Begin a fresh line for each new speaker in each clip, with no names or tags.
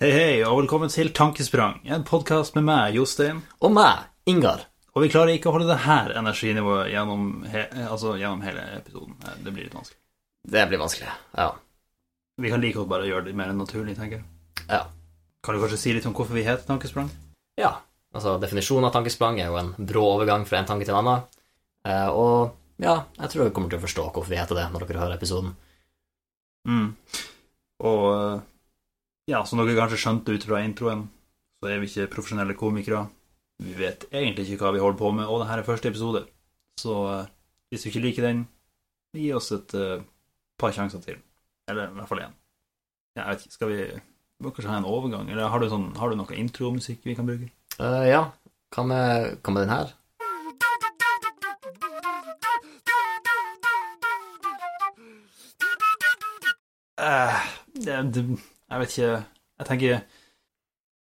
Hei, hei, og velkommen til Tankesprang, en podkast med meg, Jostein.
Og meg, Ingar.
Og vi klarer ikke å holde det her energinivået gjennom, he altså, gjennom hele episoden. Eh, Det blir litt vanskelig.
Det blir vanskelig. Ja.
Vi kan like godt bare gjøre det mer naturlig, tenker jeg.
Ja.
Kan du kanskje si litt om hvorfor vi heter Tankesprang?
ja. Altså, definisjonen av tankesprang er jo en brå overgang fra en tanke til en annen. Eh, og ja, jeg tror dere kommer til å forstå hvorfor vi heter det når dere hører episoden.
Mm. Og eh, ja, som dere kanskje skjønte ut fra introen, så er vi ikke profesjonelle komikere. Vi vet egentlig ikke hva vi holder på med, og det her er første episode. Så eh, hvis du ikke liker den, gi oss et eh, par sjanser til. Eller i hvert fall én. Ja, Jeg vet ikke, skal vi vi må kanskje ha en overgang? Eller har du, sånn, har du noe intromusikk vi kan bruke?
Eh, ja, hva med, hva med den her?
Eh, det, det, jeg vet ikke Jeg tenker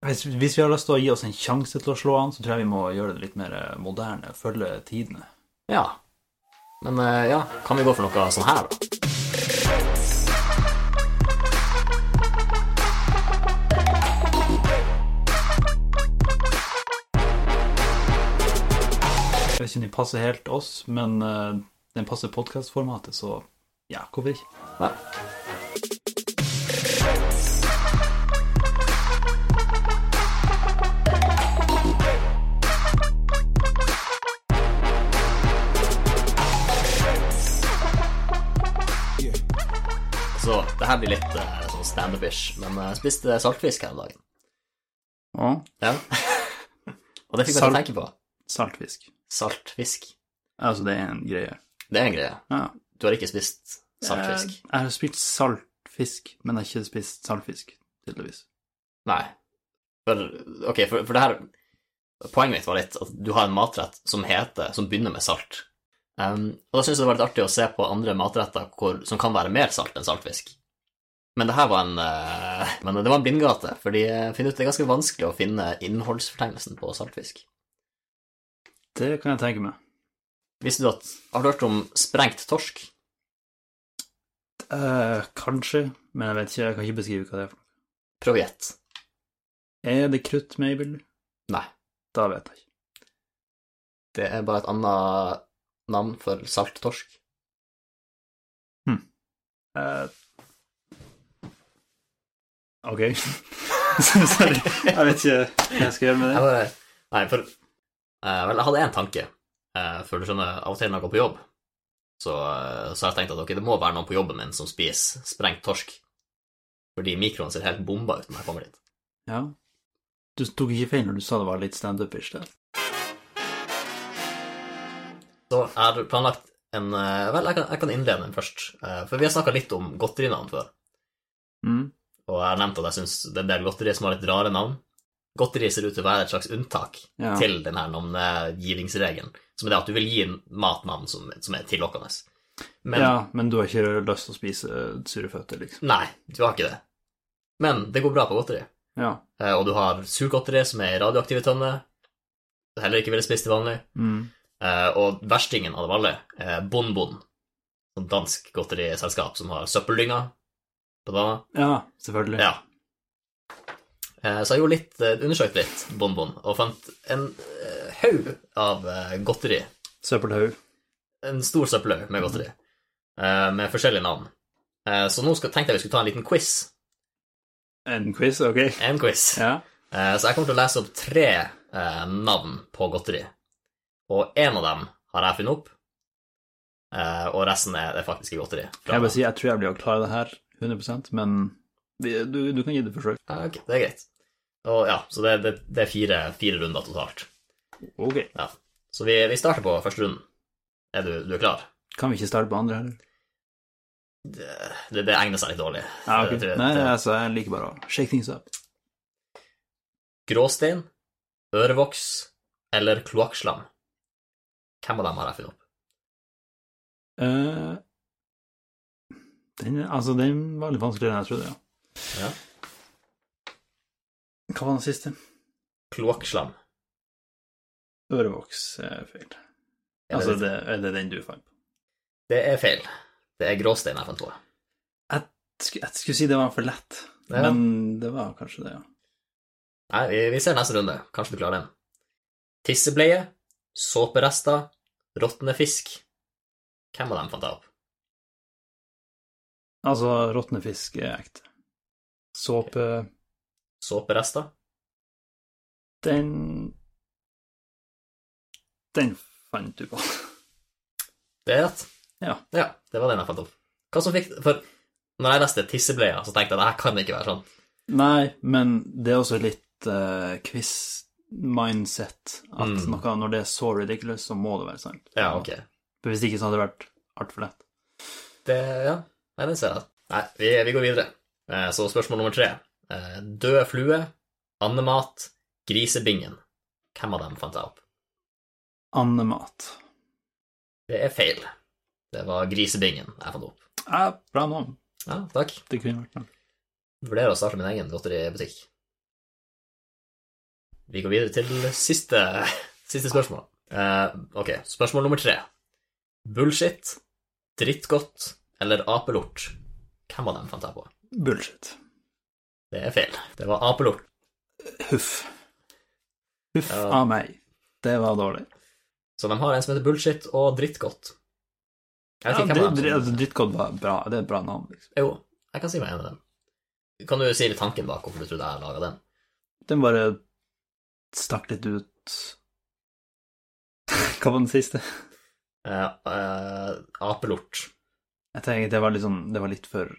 hvis, hvis vi har lyst til å gi oss en sjanse til å slå an, så tror jeg vi må gjøre det litt mer eh, moderne. Følge tidene.
Ja. Men eh, ja, kan vi gå for noe sånn her, da?
Jeg vet ikke om den passer helt oss, men eh, den passer podkastformatet, så ja, hvorfor ikke?
Ja. Så det her blir litt eh, sånn standup-ish, men eh, jeg spiste saltfisk her om dagen. Ja. Og det fikk meg til
Salt-
å tenke på.
Saltfisk.
Saltfisk.
Altså, det er en greie.
Det er en greie.
Ja.
Du har ikke spist saltfisk?
Eh, Jeg, jeg har spist saltfisk, men jeg har ikke spist saltfisk, tydeligvis.
Nei. For, ok, for, for det her Poenget mitt var litt at du har en matrett som heter Som begynner med salt. Ehm, og da syns jeg det var litt artig å se på andre matretter hvor, som kan være mer salt enn saltfisk. Men det her var en eh, Men det var en blindgate, fordi eh, finn ut, det er ganske vanskelig å finne innholdsfortegnelsen på saltfisk.
Det kan jeg tenke meg.
Visste du at Har du hørt om sprengt torsk?
Eh, kanskje, men jeg vet ikke, jeg kan ikke beskrive hva det er for noe.
Prøv å gjette.
Er det krutt med i bildet?
Nei.
Da vet jeg ikke.
Det er bare et annet navn for salt torsk.
Eh, Ok. Sorry, jeg vet ikke hva jeg skal gjøre med det.
Jeg bare Nei, for eh, Vel, jeg hadde én tanke. eh, for du skjønner, av og til når jeg går på jobb, så, eh, så har jeg tenkt at ok, det må være noen på jobben min som spiser sprengt torsk. Fordi mikroen ser helt bomba ut når jeg kommer dit.
Ja. Du tok ikke feil når du sa det var litt standup-ish der.
Så jeg har planlagt en eh, Vel, jeg kan, jeg kan innlede den først. eh, for vi har snakka litt om godterinavn før.
Mm.
Og jeg har nevnt at jeg syns det er en del godteri som har litt rare navn. Godteri ser ut til å være et slags unntak
Ja.
til denne navnegivningsregelen, som er det at du vil gi en matnavn som, som er tillokkende. Men
ja, men du har ikke lyst til å spise eh, sure føtter, liksom.
Nei, du har ikke det. Men det går bra på godteri.
Ja.
Eh, Og du har surgodteri, som er i radioaktive tønner. Du heller ikke ville spist til vanlig.
Mm.
Eh, Og verstingen av dem alle er Bonbon, et dansk godteriselskap som har søppeldynger på dama.
ja, selvfølgelig.
Ja. Eh, Så jeg gjorde litt, eh, undersøkte litt Bonbon, og fant en eh, haug av eh, godteri.
Søppelhaug.
En stor søppelhaug med godteri, eh, med forskjellige navn. Eh, Så nå skal, tenkte jeg vi skulle ta en liten quiz.
En quiz, ok.
En quiz.
Ja.
Eh, Så jeg kommer til å lese opp tre eh, navn på godteri. Og én av dem har jeg funnet opp, eh, og resten er det faktiske godteri.
Jeg vil si, jeg tror jeg blir å klare det her 100 men vi, du, du kan gi det et forsøk.
Ja, Ah, ok, det er greit. Og ja, Så det, det, det er fire, fire runder totalt.
Ok.
Så vi, vi starter på første runden. Er du, du er klar?
Kan vi ikke starte på andre, heller?
Det, det, det egner seg litt dårlig.
Ja, ok.
Det- det-
Nei,
det-
altså, jeg liker bare å shake things up.
Gråstein, ørevoks eller kloakkslam? Hvem av dem har jeg funnet opp?
Eh, den, altså, den var litt vanskeligere enn jeg trodde, ja.
Ja.
Hva var den siste?
Kloakkslam.
Ørevoks er feil.
Er det
Altså,
riktig?
det, er det den du fant på?
Det er feil. Det er gråstein jeg fant på.
Skulle- Jeg skulle si det var for lett.
Ja.
Men det var kanskje det, ja.
Nei, vi, vi ser neste runde. Kanskje du klarer den. Tissebleie, såperester, råtne fisk. Hvem av dem fant jeg opp?
Altså, råtne fisk er ekte. Såpe
Såperester?
Den Den fant du på.
Det er rett.
Ja.
ja. Det var den jeg fant opp. Hva som fikk For når jeg leste tissebleia, så tenkte jeg det her kan ikke være sånn.
Nei, men det er også litt eh, quiz-mindset at
Mm.
noe, når det er så ridiculous, så må det være sant.
Ja, ok.
For Hvis ikke så hadde det vært altfor lett.
Det Ja. Nei, den ser jeg. Nei, vi, vi går videre. Eh, Så spørsmål nummer tre. Eh, Døde flue, andemat, grisebingen. Hvem av dem fant jeg opp?
Andemat.
Det er feil. Det var grisebingen jeg fant opp.
Ja, bra navn.
Ja, takk.
Det kunne vært noe.
Vurderer å starte min egen godteributikk. Vi går videre til siste, siste spørsmål. Eh, ok, spørsmål nummer tre. Bullshit, drittgodt eller apelort? Hvem av dem fant jeg på?
Bullshit.
Det er feil. Det var apelort.
Huff. Huff
Ja.
av meg. Det var dårlig.
Så de har en som heter bullshit og drittgodt. Jeg
Ja,
vet ikke
dri-
hvem av
dri-
dem
altså,
som...
Drittgodt var bra. Det er et bra navn, liksom.
Jo, jeg kan si meg enig med dem. Kan du si litt tanken bak hvorfor du trodde jeg laga den?
Den bare stakk litt ut Hva var den siste?
Eh, eh, apelort.
Jeg tenker det var litt sånn Det var litt for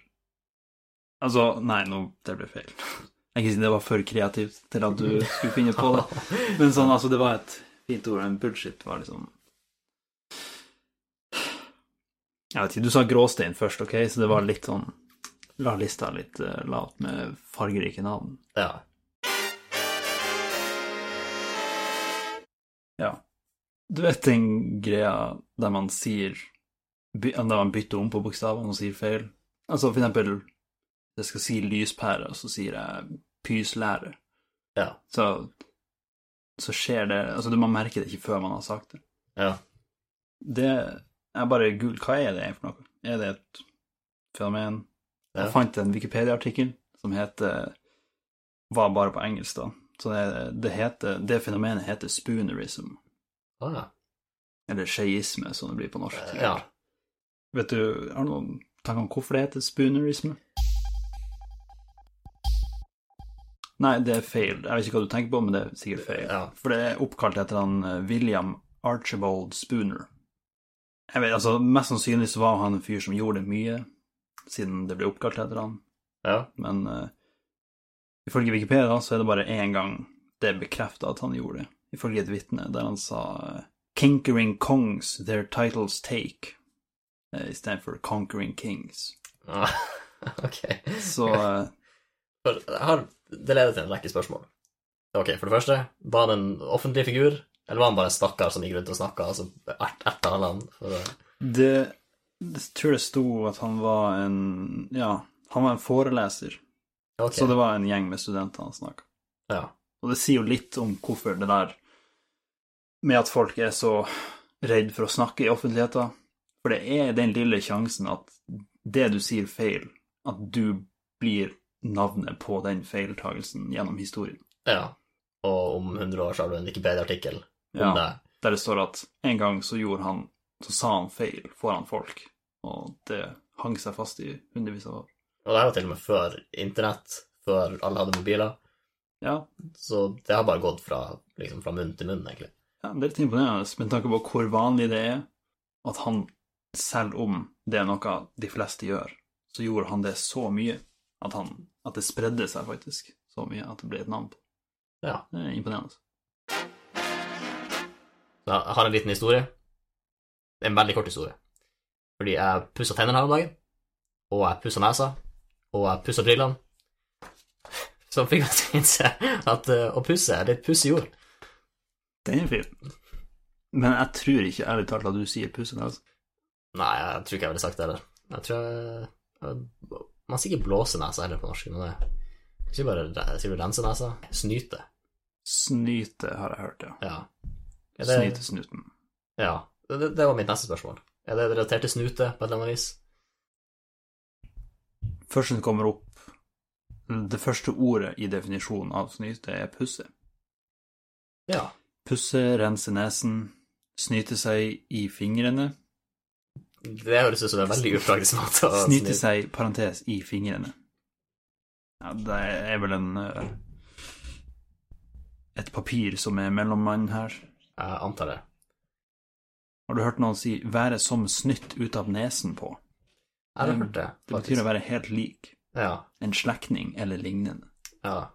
Altså, nei, nå Det ble feil. Jeg kan si det var for kreativt til at du skulle finne på det. Men sånn, altså, det var et fint ord. En bullshit var liksom Jeg vet ikke, du sa gråstein først, OK, så det var litt sånn La lista litt eh, lavt med fargerike navn.
Ja.
Du vet den greia der man sier by- Der man bytter om på bokstavene og sier feil? Altså for eksempel Jeg skal si lyspære, og så sier jeg pyslære.
Ja.
Så, så skjer det Altså man merker det ikke før man har sagt det.
Ja.
Det er bare gul Hva er det for noe? Er det et fenomen?
Ja.
Jeg fant en Wikipedia-artikkel som heter Var bare på engelsk, da. Så det, det, heter, det fenomenet heter spoonerism.
Ah, ja.
Eller skeisme, som det blir på norsk.
ja.
Vet du, Har du noen tanker om hvorfor det heter spoonerisme? Nei, det er feil. Jeg vet ikke hva du tenker på, men det er sikkert feil.
Ja.
For det er oppkalt etter han eh, William Archibald Spooner. Jeg vet, altså, Mest sannsynlig så var han en fyr som gjorde mye, siden det ble oppkalt etter han.
ja.
Men eh, ifølge Wikipedia så er det bare én gang det er bekrefta at han gjorde det, ifølge et vitne, der han sa eh, 'Kinkering kongs their titles take', eh, istedenfor 'conquering kings'.
Ah, ok.
Så eh,
For jeg har, det leder til en rekke spørsmål. Ok, for det første, var han en offentlig figur, eller var han bare en stakkar som gikk rundt og snakka, altså ert, erta alle han? For, å-
det, det tror jeg sto at han var en Ja, han var en foreleser,
ok,
så det var en gjeng med studenter han snakka.
ja.
Og det sier jo litt om hvorfor det der med at folk er så redd for å snakke i offentligheten. For det er den lille sjansen at det du sier feil, at du blir navnet på den feiltagelsen gjennom historien.
ja. Og om 100 år så har du en Wikipedia-artikkel om
Ja.
det.
Der det står at en gang så gjorde han Så sa han feil foran folk, og det hang seg fast i hundrevis av år.
Og det her var til og med før internett, før alle hadde mobiler,
Ja,
så det har bare gått fra, liksom, fra munn til munn, egentlig.
Ja, det er litt imponerende med tanke på hvor vanlig det er at han, selv om det er noe de fleste gjør, så gjorde han det så mye at, han, at det spredde seg faktisk så mye at det ble et navn på.
Ja.
Det er imponerende.
Så jeg har en liten historie. En veldig kort historie. Fordi jeg pussa tennene her om dagen, og jeg pussa nesa, og jeg pussa brillene. Så fikk jeg til å innse at eh, å pusse er litt puss i jord.
Den er fin. Men jeg tror ikke ærlig talt at du sier pussen. Altså.
Nei, jeg tror ikke jeg ville sagt det heller. Jeg tror jeg, jeg Man sier ikke blåse nesa heller på norsk, men det jeg sier bare jeg sier du rense nesa. Snyte.
Snyte, har jeg hørt, ja.
Ja. Er det,
Snyte snuten.
Ja. Det, det var mitt neste spørsmål. Er det relatert til snute på et eller annet vis?
Første som kommer opp Det første ordet i definisjonen av snyte er pusse.
Ja.
Pusse, rense nesen, snyte seg i fingrene.
Det høres ut som en veldig upraktisk måte å
Snyte seg, parentes, i fingrene. Ja, det er vel en eh, et papir som er mellommann her.
Jeg antar det.
Har du hørt noen si 'være som snytt ut av nesen på'?
Jeg har hørt det,
Mm. Det betyr å være helt lik.
Ja.
En slektning eller lignende.
ja.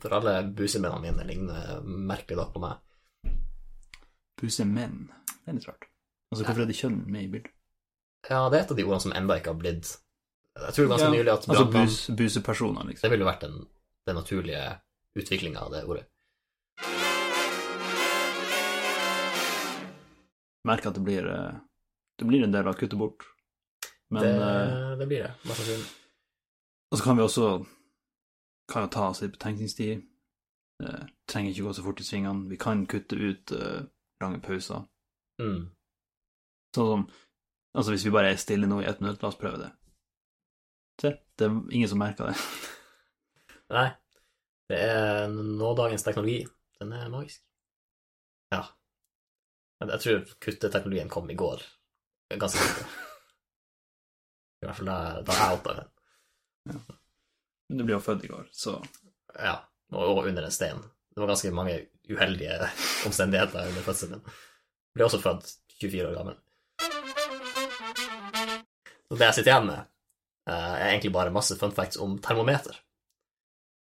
For alle busemennene mine ligner merkelig da på meg.
Puse menn. Det er litt rart. Altså, hvorfor er det kjønn med i bildet?
Ja, det er et av de ordene som enda ikke har blitt Jeg tror
Ja,
ganske nylig at
Altså
brannmann-
bus, busepersoner, liksom.
Det ville jo vært den, den naturlige utviklinga av det ordet.
Merker at det blir eh, Det blir en del å kutte bort. Men eh,
det, det blir det. mest sannsynlig.
Og så kan vi også kan jo ta oss litt betenkningstid. Eh, trenger ikke gå så fort i svingene. Vi kan kutte ut eh, lange pauser.
Mm.
Sånn som Altså, hvis vi bare er stille nå i ett minutt, la oss prøve det. Se, det er ingen som merker det.
Nei. Det er nådagens teknologi. Den er magisk. Ja. Men jeg tror kutteteknologien kom i går. Jeg er Ganske sikker. I hvert fall da, da jeg oppdaga den.
Men du ble jo født i går, så
Ja. Og, og under en stein. Det var ganske mange uheldige omstendigheter under fødselen min. Ble også født 24 år gammel. Så det jeg sitter igjen med, eh, er egentlig bare masse fun facts om termometer.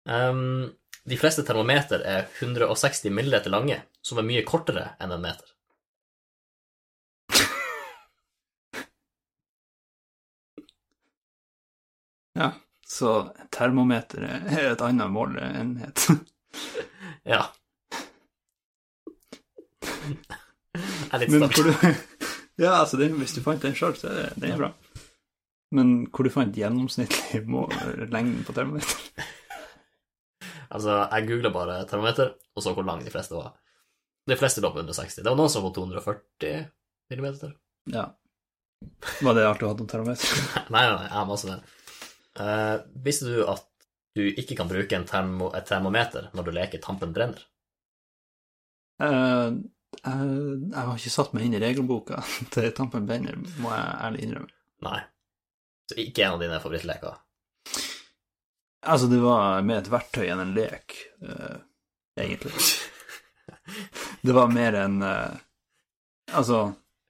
Ehm, de fleste termometer er 160 milliliter lange, som er mye kortere enn en meter.
Ja. Så termometeret er et annet måleenhet.
Ja. Jeg er litt
Men
stolt.
hvor du Ja, altså, det, hvis du fant den sjøl, så er det, det er bra. Men hvor du fant gjennomsnittlig mål, lengden på termometeret?
Altså, jeg googla bare termometer, og så hvor lang de fleste var. De fleste lå på 160. Det var noen som var på 240 millimeter.
Ja. Var det alt du hadde om termometer?
Nei, nei, nei, jeg har masse der. Eh, visste du at du ikke kan bruke en termo, et termometer når du leker Tampen brenner?
Eh, eh, jeg har ikke satt meg inn i regelboka til Tampen Benner, må jeg ærlig innrømme.
Nei. Så ikke en av dine favorittleker?
Altså, det var med et verktøy enn en lek, eh, egentlig. Det var mer enn eh, Altså,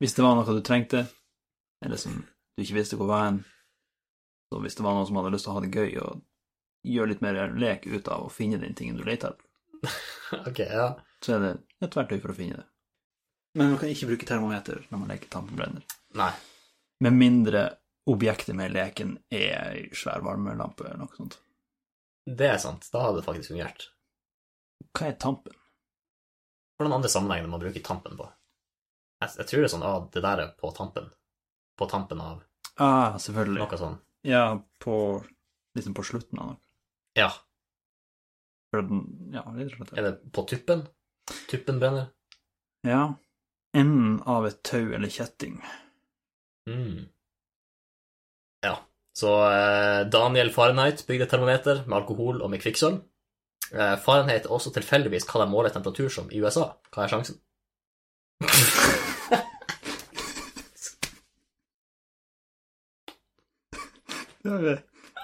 hvis det var noe du trengte, eller som du ikke visste hvor var hen, så hvis det var noen som hadde lyst til å ha det gøy og gjøre litt mer lek ut av å finne den tingen du leter etter,
ok, ja.
så er det et verktøy for å finne det. Men man kan ikke bruke termometer når man leker Tampen Brenner.
Nei.
Med mindre objektet med leken er ei svær varmelampe eller noe sånt.
Det er sant. Da hadde det faktisk fungert.
Hva er tampen?
Hvordan andre sammenhenger man bruker Tampen på? Jeg, jeg tror det er sånn ah, det der er på tampen. På tampen av
Ah, selvfølgelig.
noe sånn.
Ja, på Liksom på slutten av noe.
Ja.
For den, ja, litt slett.
Er det på tuppen? Tuppen brenner?
Ja. Enden av et tau eller kjetting.
Mm. Ja. Så eh, Daniel Fahrenheit bygde et termometer med alkohol og med kvikksølv. Eh, Fahrenheit er også tilfeldigvis hva de måler temperatur som i USA. Hva er sjansen?
Det er,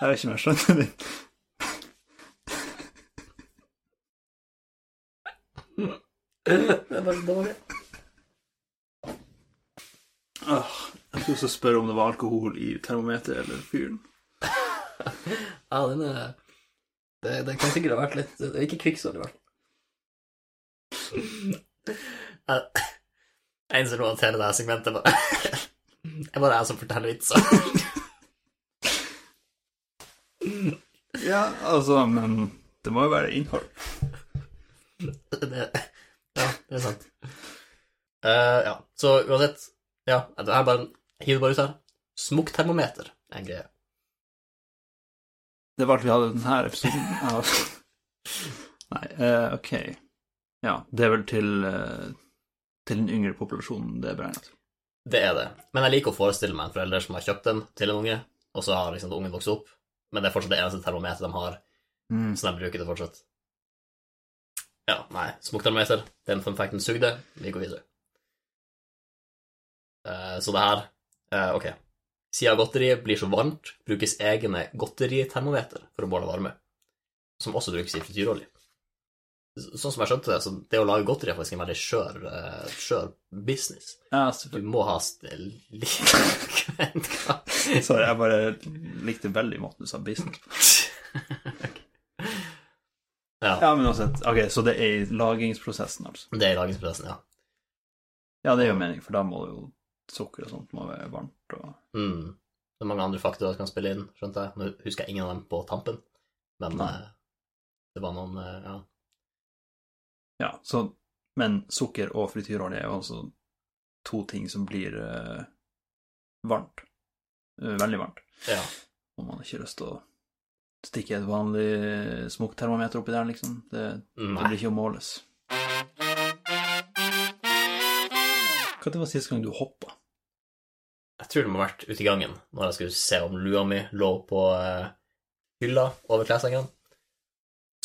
jeg vet ikke om jeg skjønner det.
Det var dårlig.
Åh, jeg skulle også spørre om det var alkohol i termometeret eller fyren.
Ja, den er det, det kan sikkert ha vært litt Det er ikke kvikksølv, i hvert fall. Jeg- Jeg innser nå at hele det her segmentet bare er bare jeg som forteller vitser.
Ja, altså, men det må jo være innhold.
det, ja, det er sant. Eh, ja, så uansett Ja, det er bare Hiv det bare ut her. Smukktermometer er en greie.
Det var alt vi hadde i denne episoden av Nei, eh, ok. Ja, det er vel til, eh, til den yngre populasjonen det er beregnet.
Det er det. Men jeg liker å forestille meg en forelder som har kjøpt den til en unge, og så har liksom ungen vokst opp, men det er fortsatt det eneste termometeret de har
Mm.
så de bruker det fortsatt. Ja, nei, smokktermometer, den fun facten sugde, vi går videre. Eh, så det her, eh, ok. Siden godteriet blir så varmt, brukes egne godteritermometer for å måle varme, som også brukes i frityrolje. Så- Sånn som jeg skjønte det, så det å lage godteri er faktisk en veldig skjør, eh, skjør business.
Ja,
Du
selvfølgelig.
må ha stell... Vent, hva?
Sorry, jeg bare likte veldig måten du sa business på.
Ja,
Ja, men uansett. Ok, så det er i lagringsprosessen, altså.
det er lagingsprosessen, ja.
Ja, det gjør mening, for da må det jo sukker og sånt må være varmt og
Mm. Det er mange andre faktorer som kan spille inn, skjønte jeg. Nå husker jeg ingen av dem på tampen, men
Nei.
eh, det var noen eh, ja.
Ja, så Men sukker og frityrolje er jo altså to ting som blir eh, varmt. Eh, veldig varmt.
ja.
Om man ikke har lyst til å stikke et vanlig smokktermometer oppi der, liksom. Det, det
Nei.
blir ikke å måles. Når var sist gang du hoppa?
Jeg tror det må ha vært ute i gangen når jeg skulle se om lua mi lå på eh, hylla over klessengen.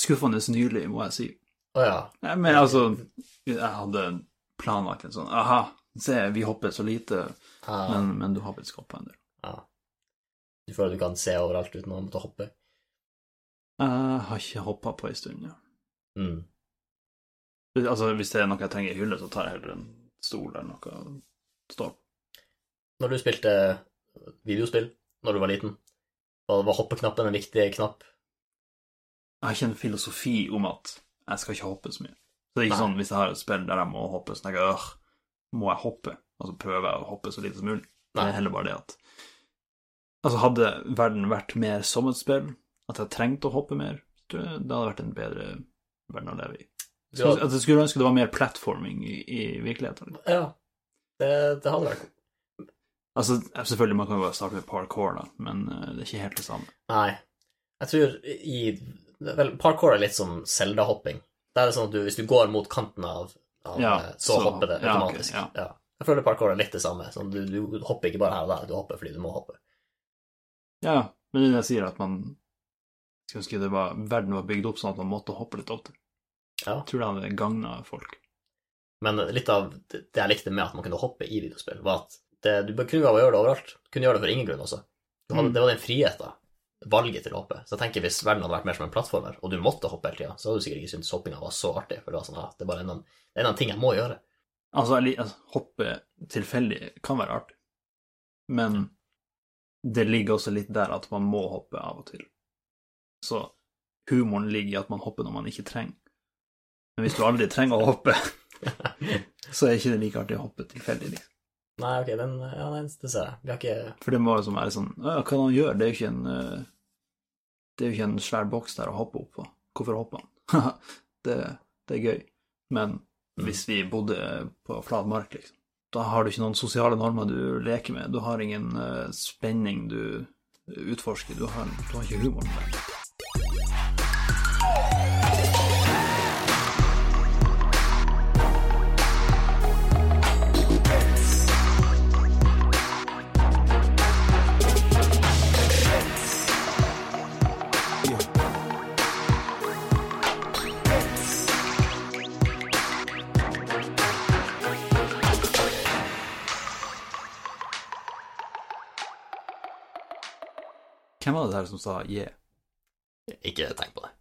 Skuffende nylig, må jeg si.
Å ja.
Nei, men altså, jeg hadde planlagt en sånn Aha, se, vi hopper så lite,
Ah,
men, men du har faktisk hoppa en del.
Du føler du kan se overalt uten å måtte hoppe.
Jeg har ikke hoppa på ei stund, ja.
Mm.
Altså, hvis det er noe jeg trenger i hylle, så tar jeg heller en stol eller noe å stå på.
Når du spilte eh, videospill når du var liten, var var hoppeknappen en viktig knapp?
Jeg har ikke en filosofi om at jeg skal ikke hoppe så mye. Så det er ikke
Nei.
sånn hvis jeg har et spill der jeg må hoppe, så tenker jeg øh, må jeg hoppe? Og så prøver jeg å hoppe så lite som mulig. Det
Nei.
er heller bare det at Altså, hadde verden vært mer som et spill, at jeg trengte å hoppe mer, tror jeg det hadde vært en bedre verden å leve i.
Du hadde-
Altså, jeg skulle ønske det var mer platforming i, i virkeligheten.
Ja. Det, det hadde vært
Altså, selvfølgelig, man kan jo bare starte med parkour, da, men eh, det er ikke helt det samme.
Nei. Jeg tror i Vel, parkour er litt som Zelda-hopping. Det er sånn at du, hvis du går mot kanten av, av
Ja,
eh, så,
så-
hopper det
ja, ok,
automatisk. Ja,
ja.
Jeg føler parkour er litt det samme. Sånn, du, du hopper ikke bare her og der, du hopper fordi du må hoppe.
Ja, ja, men det jeg sier er at man skulle ønske det var, verden var bygd opp sånn at man måtte hoppe litt oftere.
Ja.
Jeg tror det hadde gagna folk.
Men litt av det det jeg likte med at man kunne hoppe i videospill, var at det, du kunne jo gjøre det overalt. Du kunne gjøre det for ingen grunn også. Du
Mm.
hadde, Det var den friheten, valget til å hoppe. Så jeg tenker hvis verden hadde vært mer som en plattformer, og du måtte hoppe hele tida, så hadde du sikkert ikke syntes hoppinga var så artig, for det var sånn at det er bare en av- det er en av de tingene jeg må gjøre.
Altså, jeg lik- altså, hoppe tilfeldig kan være artig, men det ligger også litt der at man må hoppe av og til. Så humoren ligger i at man hopper når man ikke trenger. Men hvis du aldri trenger å hoppe, så er ikke det like artig å hoppe tilfeldig, liksom.
Nei, ok, den, ja, den, det ser jeg. Vi har ikke
For det må liksom være sånn «Å, Hva kan han gjøre? Det er jo ikke en eh, Det er jo ikke en svær boks der å hoppe opp på. Hvorfor hopper han? det, det er gøy. Men hvis vi bodde på flat mark, liksom, da har du ikke noen sosiale normer du leker med. Du har ingen eh, spenning du utforsker. Du har, du har ikke humoren der. Hvem var det der som sa 'yeah'?
Ikke tenk på det.